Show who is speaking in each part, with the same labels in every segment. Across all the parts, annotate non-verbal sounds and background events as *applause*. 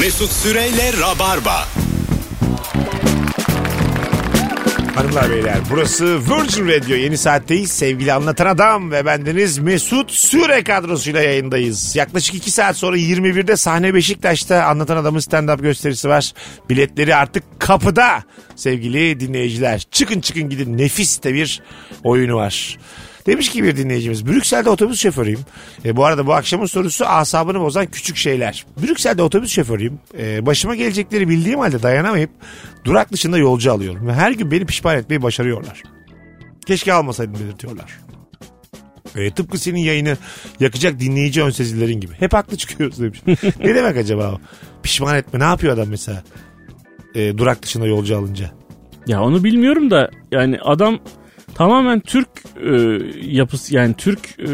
Speaker 1: Mesut Süreyle Rabarba.
Speaker 2: Hanımlar beyler burası Virgin Radio yeni saatteyiz sevgili anlatan adam ve bendeniz Mesut Süre kadrosuyla yayındayız. Yaklaşık 2 saat sonra 21'de sahne Beşiktaş'ta anlatan adamın stand-up gösterisi var. Biletleri artık kapıda sevgili dinleyiciler. Çıkın çıkın gidin nefis de bir oyunu var. Demiş ki bir dinleyicimiz Brüksel'de otobüs şoförüyüm. E, bu arada bu akşamın sorusu asabını bozan küçük şeyler. Brüksel'de otobüs şoförüyüm. E, başıma gelecekleri bildiğim halde dayanamayıp durak dışında yolcu alıyorum. Ve her gün beni pişman etmeyi başarıyorlar. Keşke almasaydım belirtiyorlar. E, tıpkı senin yayını yakacak dinleyici önsezilerin gibi. Hep haklı çıkıyoruz demiş. ne demek acaba o? Pişman etme ne yapıyor adam mesela? E, durak dışında yolcu alınca.
Speaker 3: Ya onu bilmiyorum da yani adam tamamen Türk e, yapısı yani Türk e,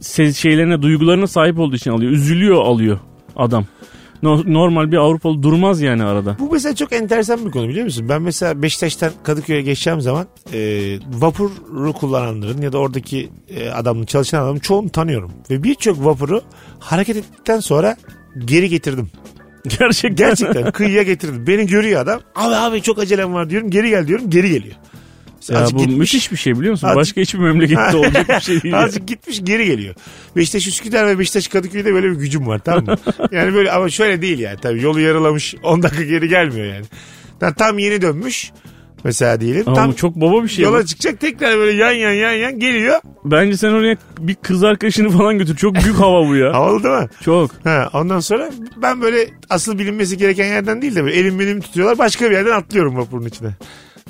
Speaker 3: se- şeylerine duygularına sahip olduğu için alıyor. Üzülüyor alıyor adam. No- normal bir Avrupalı durmaz yani arada. *laughs*
Speaker 2: Bu mesela çok enteresan bir konu biliyor musun? Ben mesela Beşiktaş'tan Kadıköy'e geçeceğim zaman e, vapuru kullananların ya da oradaki e, adamın çalışan adamın çoğunu tanıyorum. Ve birçok vapuru hareket ettikten sonra geri getirdim.
Speaker 3: Gerçekten. *laughs*
Speaker 2: Gerçekten kıyıya getirdim. Beni görüyor adam. Abi abi çok acelem var diyorum. Geri gel diyorum. Geri geliyor.
Speaker 3: Ya
Speaker 2: Azıcık
Speaker 3: bu
Speaker 2: gitmiş.
Speaker 3: müthiş bir şey biliyor musun?
Speaker 2: Azıcık-
Speaker 3: Başka hiçbir *laughs* memlekette olacak bir şey değil. ya.
Speaker 2: Azıcık gitmiş geri geliyor. Beşiktaş Üsküdar ve Beşiktaş Kadıköy'de böyle bir gücüm var tamam mı?
Speaker 3: *laughs*
Speaker 2: yani böyle ama şöyle değil yani tabii yolu yarılamış 10 dakika geri gelmiyor yani. Tam, tam yeni dönmüş mesela diyelim.
Speaker 3: Ama
Speaker 2: tam
Speaker 3: bu çok baba bir şey. bu.
Speaker 2: yola çıkacak tekrar böyle yan yan yan yan geliyor.
Speaker 3: Bence sen oraya bir kız arkadaşını falan götür. Çok büyük *laughs* hava bu ya.
Speaker 2: Havalı değil mi?
Speaker 3: Çok.
Speaker 2: Ha, ondan sonra ben böyle asıl bilinmesi gereken yerden değil de böyle elim benim tutuyorlar başka bir yerden atlıyorum vapurun içine.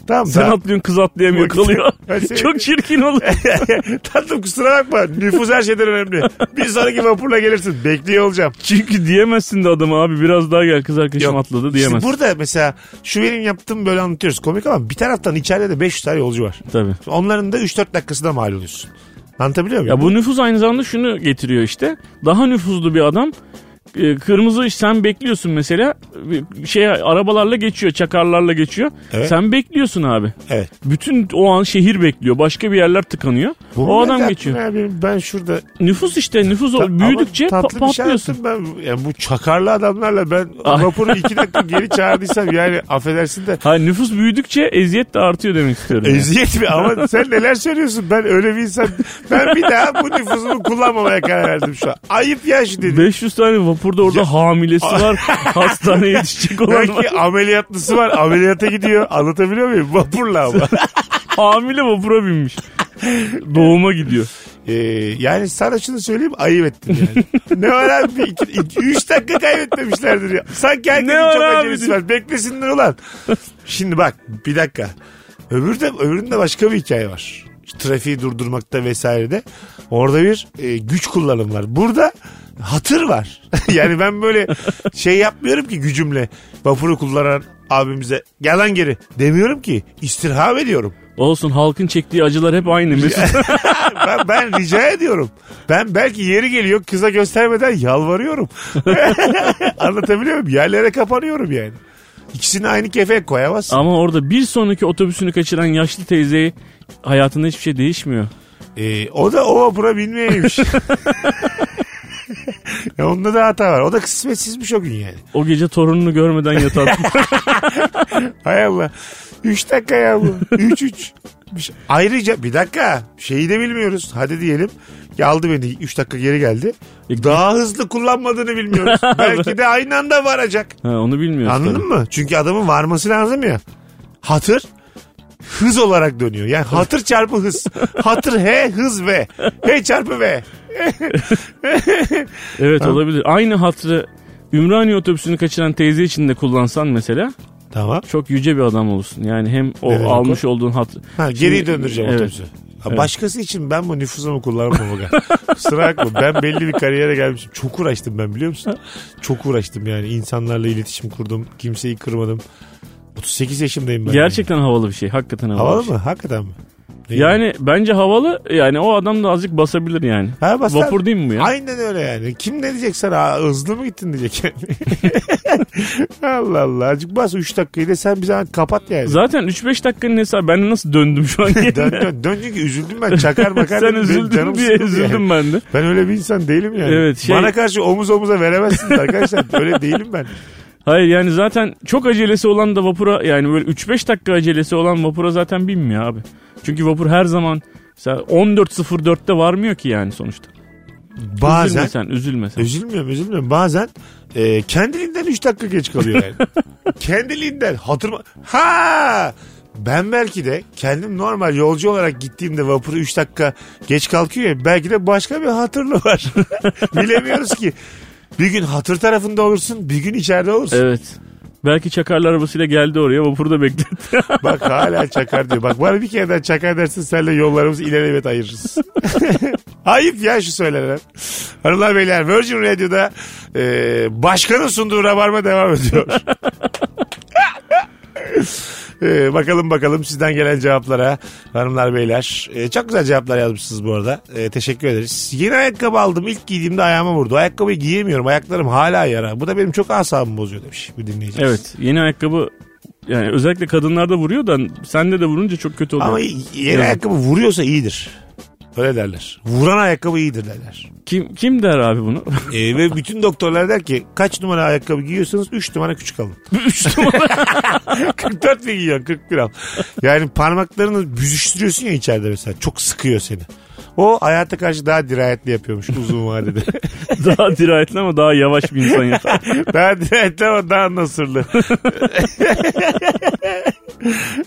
Speaker 2: Tamam
Speaker 3: Sen
Speaker 2: daha-
Speaker 3: atlıyorsun kız atlayamıyor
Speaker 2: Bak-
Speaker 3: *laughs* kalıyor.
Speaker 2: Ben seni-
Speaker 3: Çok çirkin olur.
Speaker 2: *laughs* Tatlım kusura bakma nüfus her şeyden önemli. Bir sonraki vapurla gelirsin bekliyor olacağım.
Speaker 3: *laughs* Çünkü diyemezsin de adama abi biraz daha gel kız arkadaşım
Speaker 2: Yok.
Speaker 3: atladı
Speaker 2: İşte
Speaker 3: diyemezsin.
Speaker 2: burada mesela şu benim yaptığım böyle anlatıyoruz komik ama bir taraftan içeride de 500 tane yolcu var.
Speaker 3: Tabii.
Speaker 2: Onların da 3-4 dakikasına mal oluyorsun. Anlatabiliyor muyum?
Speaker 3: Ya bu nüfuz aynı zamanda şunu getiriyor işte. Daha nüfuzlu bir adam e, kırmızı sen bekliyorsun mesela e, şey arabalarla geçiyor çakarlarla geçiyor
Speaker 2: Evet.
Speaker 3: sen bekliyorsun abi
Speaker 2: Evet.
Speaker 3: bütün o an şehir bekliyor başka bir yerler tıkanıyor
Speaker 2: Bu
Speaker 3: o
Speaker 2: ne
Speaker 3: adam
Speaker 2: tatlı
Speaker 3: geçiyor
Speaker 2: ya benim- ben şurada
Speaker 3: nüfus işte nüfus o-
Speaker 2: Ta-
Speaker 3: büyüdükçe
Speaker 2: ama
Speaker 3: pa-
Speaker 2: tatlı bir şey
Speaker 3: patlıyorsun
Speaker 2: anlattım ben. Yani bu çakarlı adamlarla ben
Speaker 3: Ah.
Speaker 2: vapuru iki dakika geri çağırdıysam yani affedersin de
Speaker 3: Ha nüfus büyüdükçe eziyet de artıyor demek istiyorum. yani.
Speaker 2: eziyet mi? Ama sen neler söylüyorsun? Ben öyle bir insan. Ben bir daha bu nüfusumu kullanmamaya karar verdim şu an. Ayıp ya şu
Speaker 3: *laughs*
Speaker 2: dedi.
Speaker 3: 500 tane vapurda orada
Speaker 2: *laughs*
Speaker 3: hamilesi var. hastaneye yetişecek olan var.
Speaker 2: Belki ameliyatlısı var. Ameliyata gidiyor. Anlatabiliyor muyum? Vapurla ama.
Speaker 3: Hamile vapura
Speaker 2: *laughs*
Speaker 3: binmiş. Doğuma gidiyor.
Speaker 2: Ee, yani sana şunu söyleyeyim ayıp ettin yani.
Speaker 3: *laughs*
Speaker 2: ne var abi? Bir iki, iki- üç dakika kaybetmemişlerdir ya. Sanki herkesin
Speaker 3: Ne var
Speaker 2: çok
Speaker 3: abi
Speaker 2: acelesi var. Beklesinler ulan. Şimdi bak bir dakika. Öbür de, öbüründe başka bir hikaye var. Trafiği durdurmakta vesairede. Orada bir e, güç kullanım var. Burada hatır var. *laughs* yani ben böyle şey yapmıyorum ki gücümle vapuru kullanan abimize gel lan geri demiyorum ki istirham ediyorum.
Speaker 3: Olsun halkın çektiği acılar
Speaker 2: *laughs*
Speaker 3: hep aynı. Mesut.
Speaker 2: ben, ben rica ediyorum. Ben belki yeri geliyor kıza göstermeden yalvarıyorum. *laughs* Anlatabiliyor muyum? Yerlere kapanıyorum yani. İkisini aynı kefeye koyamazsın.
Speaker 3: Ama orada bir sonraki otobüsünü kaçıran yaşlı teyzeyi hayatında hiçbir şey değişmiyor.
Speaker 2: Ee, o da o vapura binmeyeymiş. *laughs* ya onda da hata var. O da kısmetsizmiş o gün yani.
Speaker 3: O gece torununu
Speaker 2: *laughs*
Speaker 3: görmeden yatan.
Speaker 2: Hay Allah. 3 dakika ya bu. 3 3. şey- Ayrıca bir dakika şeyi de bilmiyoruz. Hadi diyelim ki aldı beni 3 dakika geri geldi. Daha hızlı kullanmadığını bilmiyoruz. Belki de aynı anda varacak.
Speaker 3: ha, onu bilmiyorsun.
Speaker 2: Anladın mı? Çünkü adamın varması lazım ya. Hatır hız olarak dönüyor. Yani hatır çarpı
Speaker 3: *laughs*
Speaker 2: hız. Hatır H hız V. H çarpı V.
Speaker 3: Evet olabilir. Aynı hatrı Ümraniye otobüsünü kaçıran teyze için de kullansan mesela
Speaker 2: Tamam.
Speaker 3: çok yüce bir adam olsun. Yani hem o
Speaker 2: Ne demek
Speaker 3: almış olduğun hatrı.
Speaker 2: Ha, geri
Speaker 3: Şimdi-
Speaker 2: döndüreceğim
Speaker 3: evet.
Speaker 2: otobüsü. Ha, Başkası için ben bu nüfusumu kullanmam. aga.
Speaker 3: *laughs*
Speaker 2: Kusura bakma ben belli bir kariyere gelmişim. Çok uğraştım ben biliyor musun? Çok uğraştım yani. insanlarla iletişim kurdum. Kimseyi kırmadım. 38 yaşındayım ben.
Speaker 3: Gerçekten havalı bir şey. Hakikaten havalı.
Speaker 2: Havalı
Speaker 3: bir şey.
Speaker 2: mı? Hakikaten mi? Değil mi?
Speaker 3: yani bence havalı. Yani o adam da azıcık basabilir yani.
Speaker 2: Ha, basar.
Speaker 3: Vapur değil mi bu ya?
Speaker 2: Aynen öyle yani. Kim ne diyecek sana? Aa, Hızlı mı gittin diyecek.
Speaker 3: *laughs*
Speaker 2: Allah Allah. Azıcık bas 3 dakikayı da sen bir zaman kapat yani.
Speaker 3: Zaten 3-5 dakikanın hesabı. Ben de nasıl
Speaker 2: *laughs*
Speaker 3: döndüm şu an?
Speaker 2: dön, dön, dön çünkü üzüldüm ben. Çakar bakar.
Speaker 3: *laughs* Sen
Speaker 2: dedim, benim
Speaker 3: üzüldün
Speaker 2: canım
Speaker 3: diye
Speaker 2: sıkıldı
Speaker 3: üzüldüm
Speaker 2: yani.
Speaker 3: ben de.
Speaker 2: Ben öyle bir insan değilim yani.
Speaker 3: Evet, şey-
Speaker 2: Bana karşı omuz omuza veremezsiniz arkadaşlar. öyle değilim ben.
Speaker 3: Hayır yani zaten çok acelesi olan da vapura yani böyle 3-5 dakika acelesi olan vapura zaten binmiyor abi. Çünkü vapur her zaman mesela 14.04'te varmıyor ki yani sonuçta.
Speaker 2: Bazen
Speaker 3: Üzülme sen, üzülme sen.
Speaker 2: Üzülmüyorum üzülmüyorum. Bazen e, kendiliğinden 3 dakika geç kalıyor yani. kendiliğinden hatırma... Ha! Ben belki de kendim normal yolcu olarak gittiğimde vapuru 3 dakika geç kalkıyor ya, belki de başka bir hatırlı var. *laughs* Bilemiyoruz ki. Bir gün hatır tarafında olursun, bir gün içeride olursun.
Speaker 3: Evet. Belki çakarlı arabasıyla geldi oraya vapuru
Speaker 2: *laughs*
Speaker 3: da bekletti.
Speaker 2: Bak hala çakar diyor. Bak bana bir kere daha çakar dersin senle yollarımızı ilerilevet ayırırız. *laughs* Ayıp ya şu söylenen. Hanımlar beyler Virgin Radio'da e, başkanın sunduğu rabarba devam ediyor. *laughs* E, bakalım bakalım sizden gelen cevaplara hanımlar beyler. E, çok güzel cevaplar yazmışsınız bu arada. E, teşekkür ederiz. Yeni ayakkabı aldım. İlk giydiğimde ayağıma vurdu. Ayakkabıyı giyemiyorum. Ayaklarım hala yara. Bu da benim çok asabımı bozuyor demiş bir dinleyicimiz.
Speaker 3: evet yeni ayakkabı yani özellikle kadınlarda vuruyor da sende de vurunca çok kötü oluyor.
Speaker 2: Ama yeni ayakkabı vuruyorsa iyidir. Öyle derler. Vuran ayakkabı iyidir derler.
Speaker 3: Kim kim der abi bunu? *laughs*
Speaker 2: Ee, ve bütün doktorlar der ki kaç numara ayakkabı giyiyorsanız 3 numara küçük *laughs* alın.
Speaker 3: 3 numara.
Speaker 2: 44 mi giyiyorsun 41 al. Yani parmaklarını büzüştürüyorsun ya içeride mesela. Çok sıkıyor seni. O hayata karşı daha dirayetli yapıyormuş uzun *laughs* vadede.
Speaker 3: daha dirayetli ama daha yavaş
Speaker 2: *laughs*
Speaker 3: bir insan yeter.
Speaker 2: daha dirayetli ama daha *laughs* nasırlı.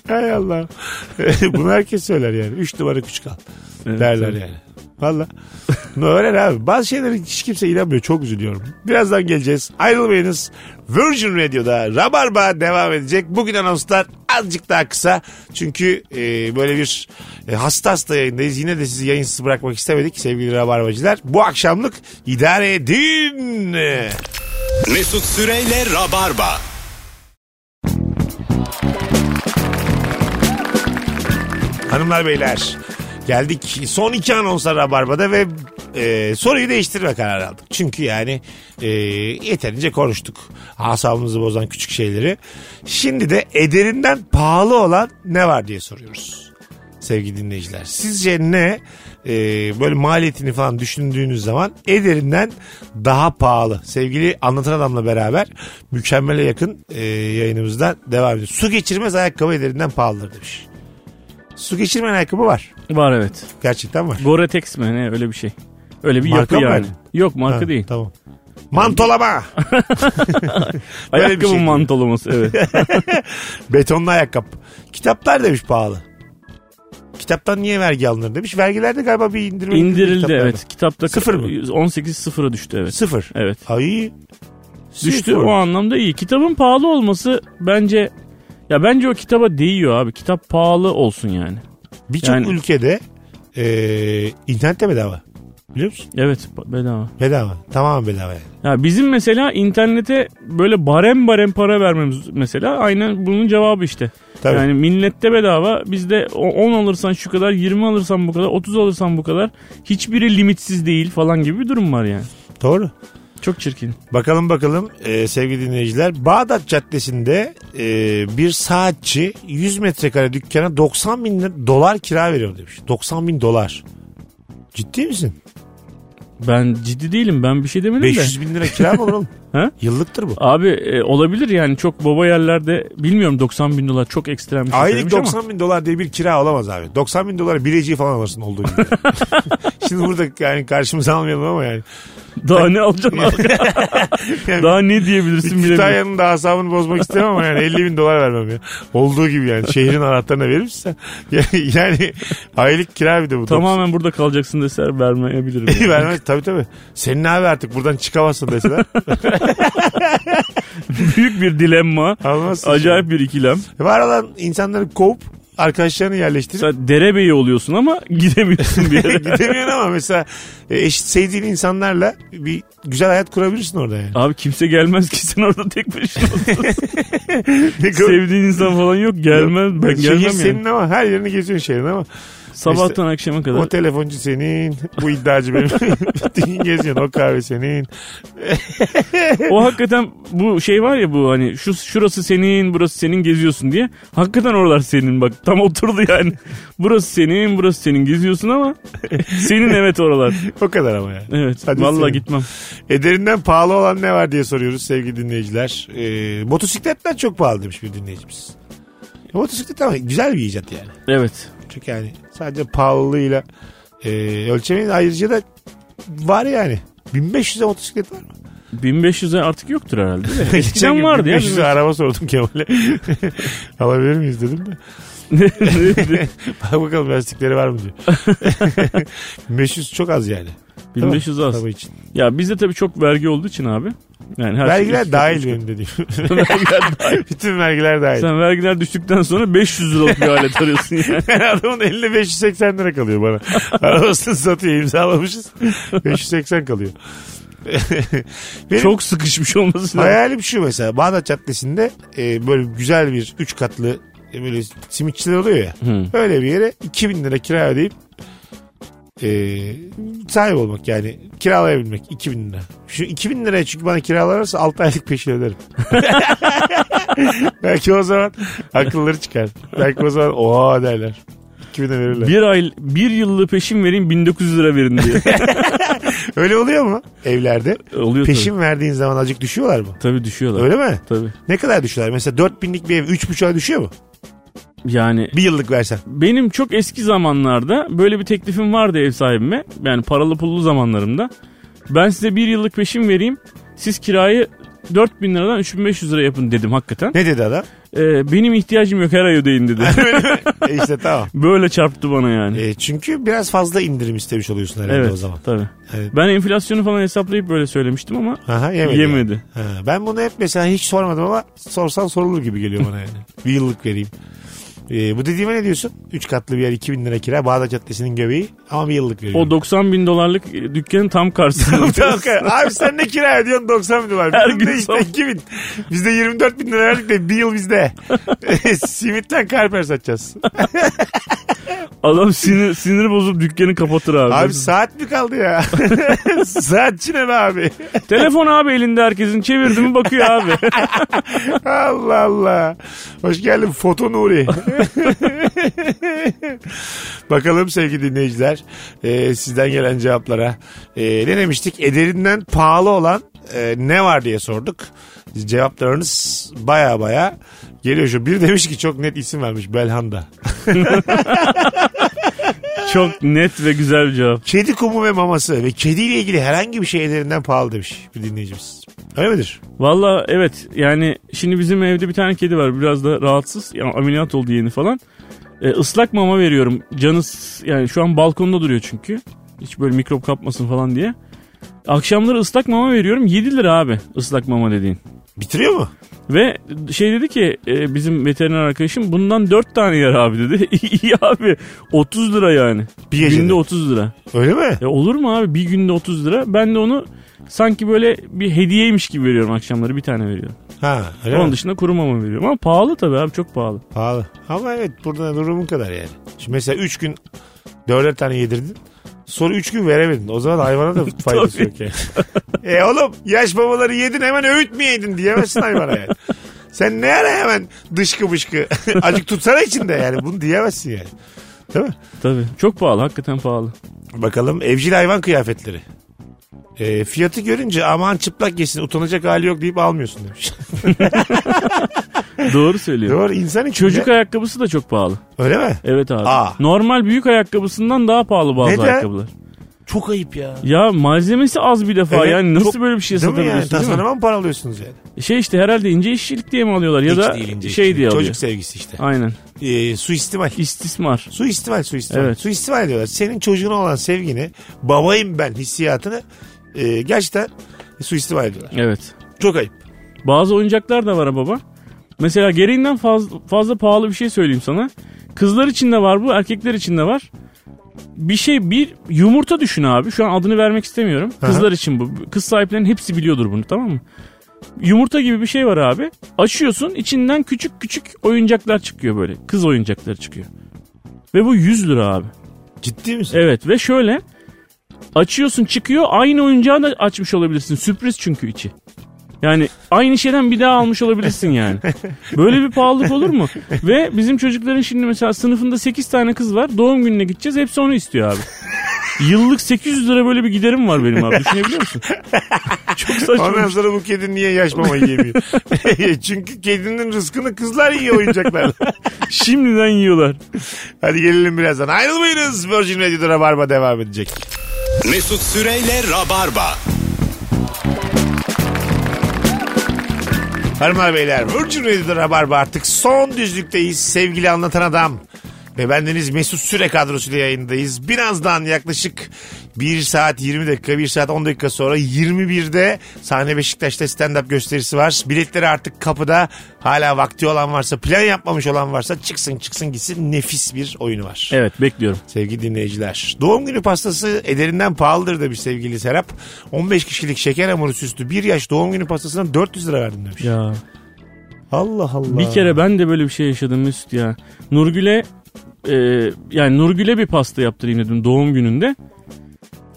Speaker 2: Hay Allah. *laughs* Bunu herkes söyler yani. 3 numara küçük al.
Speaker 3: Evet,
Speaker 2: derler
Speaker 3: evet.
Speaker 2: yani. Valla. *laughs* Ne öğren abi. Bazı şeylere hiç kimse inanmıyor. Çok üzülüyorum. Birazdan geleceğiz. Ayrılmayınız. Virgin Radio'da Rabarba devam edecek. Bugün anonslar azıcık daha kısa. Çünkü e, böyle bir e, hasta hasta yayındayız. Yine de sizi yayınsız bırakmak istemedik sevgili Rabarbacılar. Bu akşamlık idare edin.
Speaker 1: Mesut Süreyle Rabarba.
Speaker 2: Hanımlar beyler geldik. Son iki anonslar Rabarba'da ve e, soruyu değiştirme kararı aldık. Çünkü yani e, yeterince konuştuk. Asabımızı bozan küçük şeyleri. Şimdi de ederinden pahalı olan ne var diye soruyoruz. Sevgili dinleyiciler. Sizce ne e, böyle maliyetini falan düşündüğünüz zaman ederinden daha pahalı. Sevgili Anlatan Adam'la beraber mükemmele yakın e, yayınımızda devam ediyor. Su geçirmez ayakkabı ederinden pahalıdır demiş. Su geçirmeyen ayakkabı var.
Speaker 3: Var evet.
Speaker 2: Gerçekten var.
Speaker 3: Goretex mi ne öyle bir şey. Öyle bir
Speaker 2: Marka
Speaker 3: yapı
Speaker 2: mı
Speaker 3: yani.
Speaker 2: verdin?
Speaker 3: Yok marka
Speaker 2: Ha,
Speaker 3: değil.
Speaker 2: Tamam.
Speaker 3: *laughs*
Speaker 2: Mantolama. Böyle bir
Speaker 3: Ayakkabı
Speaker 2: şey.
Speaker 3: mantolaması
Speaker 2: *laughs*
Speaker 3: evet.
Speaker 2: Betonlu ayakkabı. Kitaplar demiş pahalı. Kitaptan niye vergi alınır demiş. Vergilerde galiba bir indirim.
Speaker 3: İndirildi
Speaker 2: kitaplarda.
Speaker 3: evet. Kitapta
Speaker 2: Sıfır mı?
Speaker 3: 18 sıfıra düştü evet.
Speaker 2: Sıfır.
Speaker 3: Evet.
Speaker 2: Ay.
Speaker 3: Düştü
Speaker 2: Sıfır.
Speaker 3: o anlamda iyi. Kitabın pahalı olması bence ya bence o kitaba değiyor abi. Kitap pahalı olsun yani.
Speaker 2: Birçok
Speaker 3: Yani-
Speaker 2: ülkede e, internette bedava. Biliyor musun?
Speaker 3: Evet ba- bedava.
Speaker 2: Bedava. Tamamen bedava yani.
Speaker 3: Ya bizim mesela internete böyle barem barem para vermemiz mesela aynen bunun cevabı işte.
Speaker 2: Tabii.
Speaker 3: Yani millette bedava bizde o- 10 alırsan şu kadar 20 alırsan bu kadar 30 alırsan bu kadar hiçbiri limitsiz değil falan gibi bir durum var yani.
Speaker 2: Doğru.
Speaker 3: Çok çirkin.
Speaker 2: Bakalım bakalım e, sevgili dinleyiciler. Bağdat Caddesi'nde e, bir saatçi 100 metrekare dükkana 90 bin lira- dolar kira veriyor demiş. 90 bin dolar. Ciddi misin?
Speaker 3: Ben ciddi değilim ben bir şey demedim de.
Speaker 2: 500 bin lira kira mı olur oğlum?
Speaker 3: *laughs* Ha?
Speaker 2: Yıllıktır bu.
Speaker 3: Abi e, olabilir yani çok baba yerlerde bilmiyorum 90 bin dolar çok ekstrem bir şey
Speaker 2: Aylık
Speaker 3: söylemiş ama.
Speaker 2: 90 bin dolar diye bir kira olamaz abi. 90 bin dolar bileciği falan alırsın olduğu gibi.
Speaker 3: *laughs*
Speaker 2: Şimdi burada yani karşımıza almayalım ama yani.
Speaker 3: *laughs* Daha ne alacaksın abi?
Speaker 2: *laughs* yani
Speaker 3: Daha ne diyebilirsin bilemiyorum.
Speaker 2: Kütahya'nın da asabını bozmak istemem ama yani 50 bin dolar vermem ya. Olduğu gibi yani şehrin anahtarını verirsen yani, *laughs* yani aylık kira bir de bu.
Speaker 3: Tamamen burada kalacaksın deser vermeyebilirim.
Speaker 2: *laughs*
Speaker 3: yani.
Speaker 2: Vermez tabii tabii. Senin abi artık buradan çıkamazsın
Speaker 3: *laughs*
Speaker 2: deseler.
Speaker 3: Büyük bir dilemma.
Speaker 2: Almazsın.
Speaker 3: Acayip bir ikilem.
Speaker 2: şimdi. Var olan insanları kovup arkadaşlarını yerleştirip
Speaker 3: Sen derebeyi oluyorsun ama *laughs* gidemiyorsun bir yere.
Speaker 2: *laughs* gidemiyorsun ama mesela e, eşit sevdiğin insanlarla bir güzel hayat kurabilirsin orada
Speaker 3: *laughs*
Speaker 2: yani.
Speaker 3: Abi kimse gelmez ki sen orada tek
Speaker 2: *laughs*
Speaker 3: başına olsun.
Speaker 2: Ne kadar-
Speaker 3: Sevdiğin insan falan yok gelmez. Ben
Speaker 2: Şehir
Speaker 3: gelmem yani.
Speaker 2: senin ama her yerini geziyorsun şehrin ama.
Speaker 3: Sabahtan akşama kadar.
Speaker 2: O telefoncu senin. Bu iddiacı
Speaker 3: *laughs*
Speaker 2: benim. *laughs* Bütün gün geziyorsun. O kahve senin.
Speaker 3: O hakikaten bu şey var ya bu hani şu şurası senin burası senin geziyorsun diye. Hakikaten oralar senin bak tam oturdu yani. Burası senin burası senin
Speaker 2: *laughs*
Speaker 3: geziyorsun ama senin evet oralar.
Speaker 2: O kadar ama yani.
Speaker 3: Evet
Speaker 2: Hadi
Speaker 3: vallahi
Speaker 2: senin.
Speaker 3: gitmem.
Speaker 2: Ederinden pahalı olan ne var diye soruyoruz sevgili dinleyiciler. Ee, motosikletten çok pahalı demiş bir dinleyicimiz. E, Motosiklet ama güzel bir icat yani.
Speaker 3: Evet.
Speaker 2: Çünkü yani sadece pahalılığıyla e, ölçemeyin. Ayrıca da var yani. 1500'e motosiklet var mı?
Speaker 3: 1500'e artık yoktur herhalde. de.
Speaker 2: Geçen gün
Speaker 3: vardı ya
Speaker 2: 1500'e araba sordum Kemal'e. *laughs* Alabilir miyiz dedim de. *laughs* Bak bakalım lastikleri var *laughs* mı diyor. 1500 çok az yani.
Speaker 3: 1500 az.
Speaker 2: Araba için.
Speaker 3: Ya bizde tabii çok vergi olduğu için abi. Yani her şey
Speaker 2: Vergiler
Speaker 3: üç-
Speaker 2: dahil
Speaker 3: üç-
Speaker 2: benim dediğim. *laughs*
Speaker 3: *laughs*
Speaker 2: Bütün vergiler dahil.
Speaker 3: Sen vergiler düştükten sonra 500 liralık bir alet
Speaker 2: *laughs*
Speaker 3: arıyorsun yani.
Speaker 2: Yani adamın elinde 580 lira kalıyor bana. Arabasını satıyor imzalamışız. 580 kalıyor. *laughs* Benim
Speaker 3: Çok sıkışmış olması lazım.
Speaker 2: hayalim şu mesela Bağdat Caddesi'nde e, böyle güzel bir 3 katlı e, böyle simitçiler oluyor ya.
Speaker 3: Hı.
Speaker 2: Öyle bir yere 2000 lira kira ödeyip e, sahip olmak yani kiralayabilmek 2000 lira. Şu 2000 liraya çünkü bana kiralarsa 6 aylık peşin öderim. Belki o zaman akılları çıkar. Belki o zaman oha derler. 2000 lira verirler.
Speaker 3: Bir ay bir yıllık peşin vereyim 1900 lira
Speaker 2: *laughs*
Speaker 3: verin diye.
Speaker 2: Öyle oluyor mu evlerde?
Speaker 3: Oluyor
Speaker 2: Peşin verdiğin zaman azıcık düşüyorlar mı?
Speaker 3: tabii. Tabii düşüyorlar.
Speaker 2: Öyle mi?
Speaker 3: Tabii.
Speaker 2: Ne kadar düşüyorlar? Mesela 4000'lik bir ev 3,5'a düşüyor mu?
Speaker 3: Yani
Speaker 2: Bir yıllık versen.
Speaker 3: benim çok eski zamanlarda böyle bir teklifim vardı ev sahibime. Yani paralı pullu zamanlarımda. Ben size bir yıllık peşin vereyim. Siz kirayı 4000 liradan 3500 lira yapın dedim hakikaten.
Speaker 2: Ne dedi adam?
Speaker 3: Ee, benim ihtiyacım yok her ay
Speaker 2: *laughs*
Speaker 3: ödeyin dedi.
Speaker 2: e
Speaker 3: *laughs*
Speaker 2: işte tamam.
Speaker 3: Böyle çarptı bana yani.
Speaker 2: E çünkü biraz fazla indirim istemiş oluyorsun herhalde
Speaker 3: evet
Speaker 2: o zaman.
Speaker 3: tabii.
Speaker 2: Evet.
Speaker 3: Ben enflasyonu falan hesaplayıp böyle söylemiştim ama
Speaker 2: Aha, yemedi.
Speaker 3: yemedi.
Speaker 2: Ha, ben bunu hep mesela hiç sormadım ama sorsan sorulur gibi geliyor bana
Speaker 3: *laughs*
Speaker 2: yani. bir yıllık vereyim. E, bu dediğime ne diyorsun? 3 katlı bir yer 2000 lira kira Bağdat Caddesi'nin göbeği ama bir yıllık veriyorum.
Speaker 3: O 90 bin dolarlık e, dükkanın tam karşısında.
Speaker 2: *laughs*
Speaker 3: *laughs*
Speaker 2: Tamam, tamam. Abi sen ne kira ödüyorsun 90 bin dolar.
Speaker 3: Her
Speaker 2: Bizim
Speaker 3: gün
Speaker 2: de işte
Speaker 3: son.
Speaker 2: 2000. Bizde 24 bin lira verdik de bir yıl
Speaker 3: *laughs*
Speaker 2: bizde. Simitten karper satacağız.
Speaker 3: Adam sinir, sinir bozup dükkanı kapatır abi.
Speaker 2: Abi saat mi kaldı ya? *laughs* Saatçi ne be abi?
Speaker 3: Telefon abi elinde herkesin çevirdi mi bakıyor
Speaker 2: *laughs*
Speaker 3: abi.
Speaker 2: Allah Allah. Hoş geldin Foto Nuri. Bakalım sevgili dinleyiciler e, sizden gelen cevaplara. E, ne demiştik? Ederinden pahalı olan e, ne var diye sorduk. Cevaplarınız baya baya geliyor. Şu bir demiş ki çok net isim vermiş Belhanda.
Speaker 3: Çok net ve güzel bir cevap.
Speaker 2: Kedi kumu ve maması ve kediyle ilgili herhangi bir şey ederinden pahalı demiş bir dinleyicimiz. Öyle midir?
Speaker 3: Valla evet yani şimdi bizim evde bir tane kedi var biraz da rahatsız. Ya, ameliyat oldu yeni falan. E, ıslak mama veriyorum. Canı s- yani şu an balkonda duruyor çünkü. Hiç böyle mikrop kapmasın falan diye. Akşamları ıslak mama veriyorum 7 lira abi ıslak mama dediğin.
Speaker 2: Bitiriyor mu?
Speaker 3: Ve şey dedi ki e, bizim veteriner arkadaşım bundan 4 tane yer abi dedi. *laughs* İyi abi 30 lira yani.
Speaker 2: Bir gecede.
Speaker 3: Günde 30 lira.
Speaker 2: Öyle mi?
Speaker 3: Ya olur mu abi bir günde 30 lira? Ben de onu sanki böyle bir hediyeymiş gibi veriyorum akşamları bir tane veriyorum.
Speaker 2: Ha öyle
Speaker 3: Onun
Speaker 2: mi?
Speaker 3: dışında kuru mama veriyorum ama pahalı tabii abi çok pahalı.
Speaker 2: Pahalı. Ama evet burada durumun kadar yani. Şimdi mesela 3 gün dörder tane yedirdin. Sonra 3 gün veremedin. O zaman hayvana
Speaker 3: *laughs*
Speaker 2: da faydası yok yani. e oğlum yaş babaları yedin hemen öğütmeyeydin diyemezsin hayvana yani. Sen ne ara hemen dışkı bışkı. *laughs* Acık tutsana içinde yani. Bunu diyemezsin yani. Değil mi?
Speaker 3: Tabii çok pahalı
Speaker 2: *laughs*
Speaker 3: hakikaten pahalı.
Speaker 2: Bakalım evcil hayvan kıyafetleri. E, fiyatı görünce aman çıplak yesin utanacak hali yok deyip almıyorsun
Speaker 3: *laughs*
Speaker 2: demiş.
Speaker 3: Doğru söylüyor.
Speaker 2: Doğru insan için
Speaker 3: Çocuk
Speaker 2: de-
Speaker 3: ayakkabısı da çok pahalı.
Speaker 2: Öyle mi?
Speaker 3: Evet abi.
Speaker 2: Aa.
Speaker 3: Normal büyük ayakkabısından daha pahalı bazı
Speaker 2: Neden?
Speaker 3: ayakkabılar.
Speaker 2: Çok ayıp ya.
Speaker 3: Ya malzemesi az bir defa
Speaker 2: Evet,
Speaker 3: yani nasıl
Speaker 2: çok-
Speaker 3: böyle bir şey
Speaker 2: Değil mi yani?
Speaker 3: satabiliyorsun değil mi?
Speaker 2: Tasarıma mı para alıyorsunuz yani?
Speaker 3: Şey işte herhalde ince işçilik diye mi alıyorlar ya
Speaker 2: Hiç
Speaker 3: da
Speaker 2: değil ince
Speaker 3: şey
Speaker 2: işçilik.
Speaker 3: diye alıyor.
Speaker 2: Çocuk sevgisi işte.
Speaker 3: Aynen.
Speaker 2: Ee, suistimal.
Speaker 3: İstismar.
Speaker 2: Suistimal, suistimal.
Speaker 3: Evet.
Speaker 2: Suistimal diyorlar. Senin çocuğuna olan sevgini, babayım ben hissiyatını e, gerçekten suistimal ediyorlar.
Speaker 3: Evet.
Speaker 2: Çok ayıp.
Speaker 3: Bazı oyuncaklar da var ha baba. Mesela gereğinden fazla, fazla pahalı bir şey söyleyeyim sana. Kızlar için de var bu, erkekler için de var. Bir şey bir yumurta düşün abi. Şu an adını vermek istemiyorum. Kızlar için bu. Kız sahiplerinin hepsi biliyordur bunu tamam mı? Yumurta gibi bir şey var abi. Açıyorsun içinden küçük küçük oyuncaklar çıkıyor böyle. Kız oyuncakları çıkıyor. Ve bu 100 lira abi.
Speaker 2: Ciddi misin?
Speaker 3: Evet ve şöyle açıyorsun çıkıyor aynı oyuncağı da açmış olabilirsin. Sürpriz çünkü içi. Yani aynı şeyden bir daha almış olabilirsin *laughs* yani. Böyle bir pahalılık olur mu? Ve bizim çocukların şimdi mesela sınıfında 8 tane kız var. Doğum gününe gideceğiz. Hepsi onu istiyor abi. Yıllık 800 lira böyle bir giderim var benim abi. Düşünebiliyor *laughs* musun? Çok saçma.
Speaker 2: Ondan sonra bu kedi niye yaş mama yemiyor? *laughs* Çünkü kedinin rızkını kızlar yiyor
Speaker 3: *laughs*
Speaker 2: oyuncaklar.
Speaker 3: Şimdiden yiyorlar.
Speaker 2: Hadi gelelim birazdan. Ayrılmayınız. Virgin Radio'da Rabarba devam edecek.
Speaker 1: Mesut Süreyle Rabarba.
Speaker 2: Hanımlar beyler Virgin Radio'da Rabarba artık son düzlükteyiz sevgili anlatan adam. Ve bendeniz Mesut Süre kadrosuyla yayındayız. Birazdan yaklaşık 1 saat 20 dakika 1 saat 10 dakika sonra 21'de sahne Beşiktaş'ta stand-up gösterisi var. Biletleri artık kapıda hala vakti olan varsa plan yapmamış olan varsa çıksın çıksın gitsin nefis bir oyunu var.
Speaker 3: Evet bekliyorum.
Speaker 2: Sevgili dinleyiciler. Doğum günü pastası ederinden pahalıdır demiş sevgili Serap. 15 kişilik şeker hamuru süslü 1 yaş doğum günü pastasına 400 lira verdim demiş.
Speaker 3: Ya
Speaker 2: Allah Allah.
Speaker 3: Bir kere ben de böyle bir şey yaşadım Mesut ya. Nurgül'e e, yani Nurgül'e bir pasta yaptırayım dedim doğum gününde.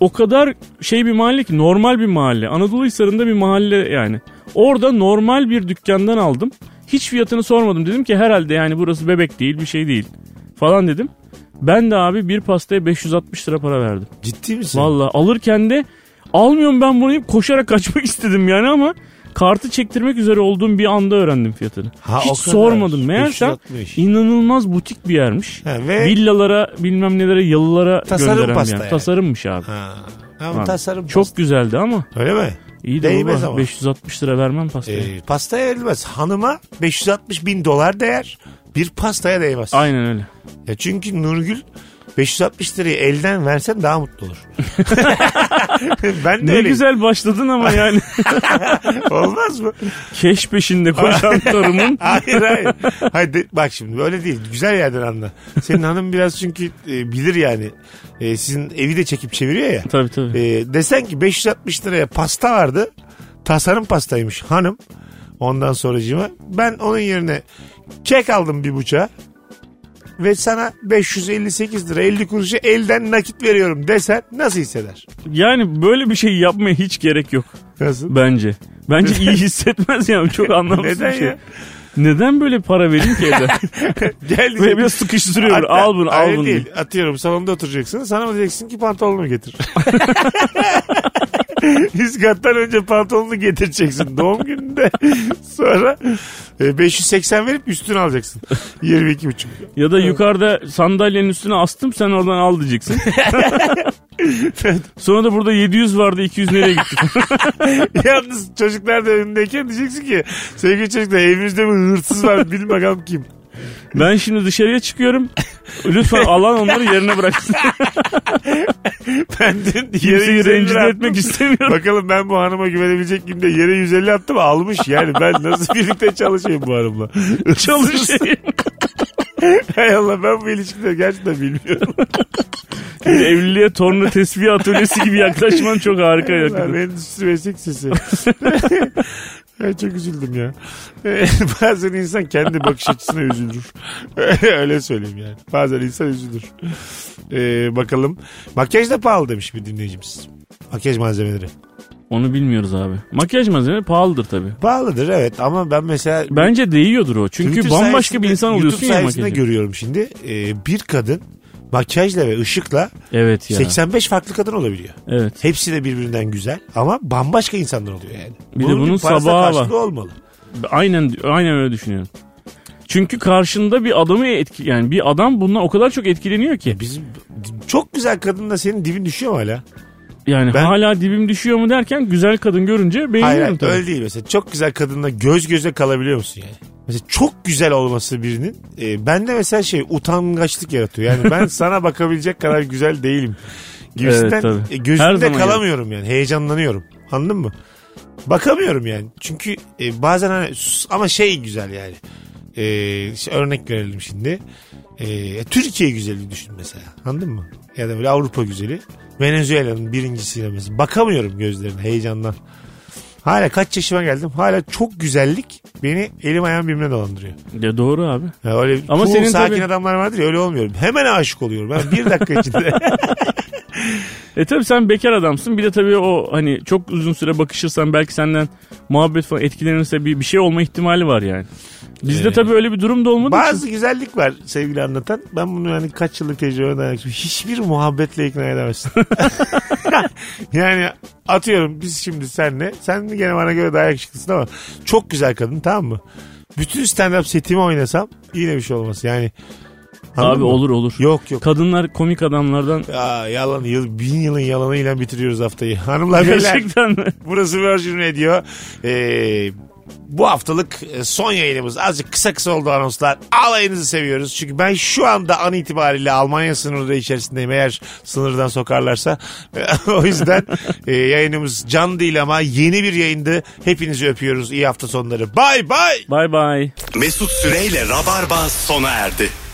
Speaker 3: O kadar şey bir mahalle ki normal bir mahalle. Anadolu Hisarı'nda bir mahalle yani. Orada normal bir dükkandan aldım. Hiç fiyatını sormadım. Dedim ki herhalde yani burası bebek değil bir şey değil falan dedim. Ben de abi bir pastaya 560 lira para verdim.
Speaker 2: Ciddi misin?
Speaker 3: Valla alırken de almıyorum ben bunu deyip koşarak kaçmak *laughs* istedim yani ama kartı çektirmek üzere olduğum bir anda öğrendim fiyatını.
Speaker 2: Ha, o
Speaker 3: Hiç
Speaker 2: kadar.
Speaker 3: sormadım. Meğersem
Speaker 2: 560.
Speaker 3: inanılmaz butik bir yermiş.
Speaker 2: Ha, ve-
Speaker 3: Villalara bilmem nelere yalılara
Speaker 2: Tasarım
Speaker 3: gönderen bir
Speaker 2: pasta
Speaker 3: yer.
Speaker 2: yani.
Speaker 3: Tasarımmış abi.
Speaker 2: Ha. Ama
Speaker 3: Abi,
Speaker 2: tasarım
Speaker 3: Çok
Speaker 2: pasta.
Speaker 3: güzeldi ama
Speaker 2: Öyle mi?
Speaker 3: iyi de
Speaker 2: Değmez
Speaker 3: baba,
Speaker 2: ama.
Speaker 3: 560 lira vermem pastaya.
Speaker 2: Ee, pastaya verilmez. Hanıma 560 bin dolar değer. Bir pastaya değmez.
Speaker 3: Aynen öyle.
Speaker 2: Ya çünkü Nurgül 560 lirayı elden versen daha mutlu
Speaker 3: *laughs*
Speaker 2: olur. ben de
Speaker 3: Ne
Speaker 2: öyleyim.
Speaker 3: güzel başladın
Speaker 2: *laughs*
Speaker 3: ama yani.
Speaker 2: Olmaz mı?
Speaker 3: Keş
Speaker 2: *laughs*
Speaker 3: peşinde koşan tarımın.
Speaker 2: Hayır hayır. hayır de- bak şimdi böyle değil. Güzel yerden anla. Senin hanım biraz çünkü e, bilir yani. E, sizin evi de çekip çeviriyor ya.
Speaker 3: Tabii tabii.
Speaker 2: E, desen ki 560 liraya pasta vardı. Tasarım pastaymış hanım. Ondan sonracığıma. Ben onun yerine kek aldım bir buçağa. Ve sana 558 lira 50 kuruşu elden nakit veriyorum desen nasıl hisseder?
Speaker 3: Yani böyle bir şey yapmaya hiç gerek yok.
Speaker 2: Nasıl?
Speaker 3: Bence. Bence iyi hissetmez
Speaker 2: *laughs*
Speaker 3: yani çok anlamsız
Speaker 2: Neden
Speaker 3: bir şey.
Speaker 2: ya?
Speaker 3: Neden böyle para vereyim
Speaker 2: *laughs*
Speaker 3: ki evde?
Speaker 2: Geldi.
Speaker 3: Böyle biraz sıkıştırıyor.
Speaker 2: Hatta
Speaker 3: al bunu al
Speaker 2: öyle
Speaker 3: bunu.
Speaker 2: değil. Atıyorum salonda oturacaksın. Sana mı diyeceksin ki pantolonumu
Speaker 3: *laughs*
Speaker 2: getir. Hizgattan önce pantolonunu getireceksin doğum gününde. Sonra e, 580 verip üstünü alacaksın. 22,5.
Speaker 3: Ya da yukarıda sandalyenin üstüne astım sen oradan
Speaker 2: *laughs*
Speaker 3: al diyeceksin. Sonra da burada 700 vardı 200 nereye gitti?
Speaker 2: *laughs* Yalnız çocuklar da önündeyken diyeceksin ki sevgili çocuklar evimizde bir hırsız var bil bakalım kim. *laughs*
Speaker 3: Ben şimdi dışarıya çıkıyorum. Lütfen alan onları yerine bıraksın.
Speaker 2: Ben dün yere
Speaker 3: Kimseyi
Speaker 2: 150
Speaker 3: rencide
Speaker 2: attım.
Speaker 3: etmek
Speaker 2: *laughs*
Speaker 3: istemiyorum.
Speaker 2: Bakalım ben bu hanıma güvenebilecek miyim de yere 150 attım almış yani ben nasıl birlikte çalışayım bu
Speaker 3: *laughs*
Speaker 2: hanımla.
Speaker 3: Çalışayım.
Speaker 2: Hay Allah ben bu ilişkileri gerçekten
Speaker 3: *laughs*
Speaker 2: bilmiyorum.
Speaker 3: Evliliğe torna tesbih atölyesi gibi yaklaşman çok harika
Speaker 2: Ben
Speaker 3: yakın.
Speaker 2: endüstri meslek
Speaker 3: *laughs*
Speaker 2: sesi. Ay çok üzüldüm ya. *laughs* Bazen insan kendi bakış açısına üzülür. *laughs* Öyle söyleyeyim yani. Bazen insan üzülür. Ee, bakalım. Makyaj da pahalı demiş bir dinleyicimiz. Makyaj malzemeleri.
Speaker 3: Onu bilmiyoruz abi. Makyaj malzemesi pahalıdır tabii.
Speaker 2: Pahalıdır evet ama ben mesela
Speaker 3: Bence değiyordur o. Çünkü
Speaker 2: Twitter
Speaker 3: bambaşka
Speaker 2: sayesinde-
Speaker 3: bir insan oluyorsun
Speaker 2: YouTube
Speaker 3: ya
Speaker 2: sayesinde
Speaker 3: makyajı.
Speaker 2: görüyorum şimdi. Ee, bir kadın makyajla ve ışıkla
Speaker 3: Evet ya.
Speaker 2: 85 farklı kadın olabiliyor.
Speaker 3: Evet.
Speaker 2: Hepsi de birbirinden güzel ama bambaşka insanlar oluyor yani.
Speaker 3: Bir de bunun
Speaker 2: parası
Speaker 3: sabahı var.
Speaker 2: karşılığı olmalı.
Speaker 3: Aynen aynen öyle düşünüyorum. Çünkü karşında bir adamı etki yani bir adam bundan o kadar çok etkileniyor ki.
Speaker 2: E Bizim çok güzel kadınla senin dibin düşüyor mu hala?
Speaker 3: Yani
Speaker 2: Ben-
Speaker 3: hala dibim düşüyor mu derken güzel kadın görünce
Speaker 2: Hayır,
Speaker 3: beğeniyorum
Speaker 2: hayır
Speaker 3: tabii.
Speaker 2: öyle değil mesela. Çok güzel kadınla göz göze kalabiliyor musun yani? Mesela çok güzel olması birinin e, bende mesela şey utangaçlık yaratıyor. Yani
Speaker 3: *laughs*
Speaker 2: ben sana bakabilecek kadar güzel değilim. Gibisinden
Speaker 3: Evet, tabii.
Speaker 2: e,
Speaker 3: Her
Speaker 2: gözünde
Speaker 3: zaman
Speaker 2: kalamıyorum yani. Heyecanlanıyorum. Anladın mı? Bakamıyorum yani. Çünkü e, bazen hani sus- ama şey güzel yani. E, işte örnek verelim şimdi. E, Türkiye güzeli düşün mesela. Anladın mı? Ya da böyle Avrupa güzeli. Venezuela'nın birincisiyle mesela. Bakamıyorum gözlerine heyecandan. Hala kaç yaşıma geldim hala çok güzellik beni elim ayağım birbirine dolandırıyor.
Speaker 3: De doğru abi.
Speaker 2: Ya öyle
Speaker 3: Ama
Speaker 2: cool,
Speaker 3: senin
Speaker 2: sakin
Speaker 3: tabii-
Speaker 2: adamlar vardır ya öyle olmuyorum. Hemen aşık oluyorum. Ben bir dakika
Speaker 3: *laughs*
Speaker 2: içinde.
Speaker 3: E tabi sen bekar adamsın. Bir de tabii o hani çok uzun süre bakışırsan belki senden muhabbet falan etkilenirse bir, bir şey olma ihtimali var yani. Bizde tabii öyle bir durum da olmadı.
Speaker 2: Bazı güzellik Ee, var sevgili anlatan. Ben bunu yani kaç yıllık tecrübeye dayanarak hiçbir muhabbetle ikna
Speaker 3: *laughs*
Speaker 2: edemezsin. yani atıyorum biz şimdi senle sen de gene bana göre daha yakışıklısın ama çok güzel kadın tamam mı? Bütün stand-up setimi oynasam yine bir şey olmaz yani. anladın
Speaker 3: Abi
Speaker 2: mı?
Speaker 3: olur olur.
Speaker 2: Yok yok.
Speaker 3: Kadınlar komik adamlardan
Speaker 2: Ya, yalan yıl, bin yılın yalanıyla bitiriyoruz haftayı. Hanımlar beyler
Speaker 3: gerçekten mi?
Speaker 2: burası Virgin Radio. Ee, bu haftalık e, son yayınımız azıcık kısa kısa oldu anonslar. Alayınızı seviyoruz. Çünkü ben şu anda an itibariyle Almanya sınırları içerisindeyim. Eğer sınırdan sokarlarsa. *laughs* o yüzden e, yayınımız can değil ama yeni bir yayındı. Hepinizi öpüyoruz. İyi hafta sonları. Bay bay.
Speaker 3: Bay bay.
Speaker 1: Mesut Süreyle Rabarba sona erdi.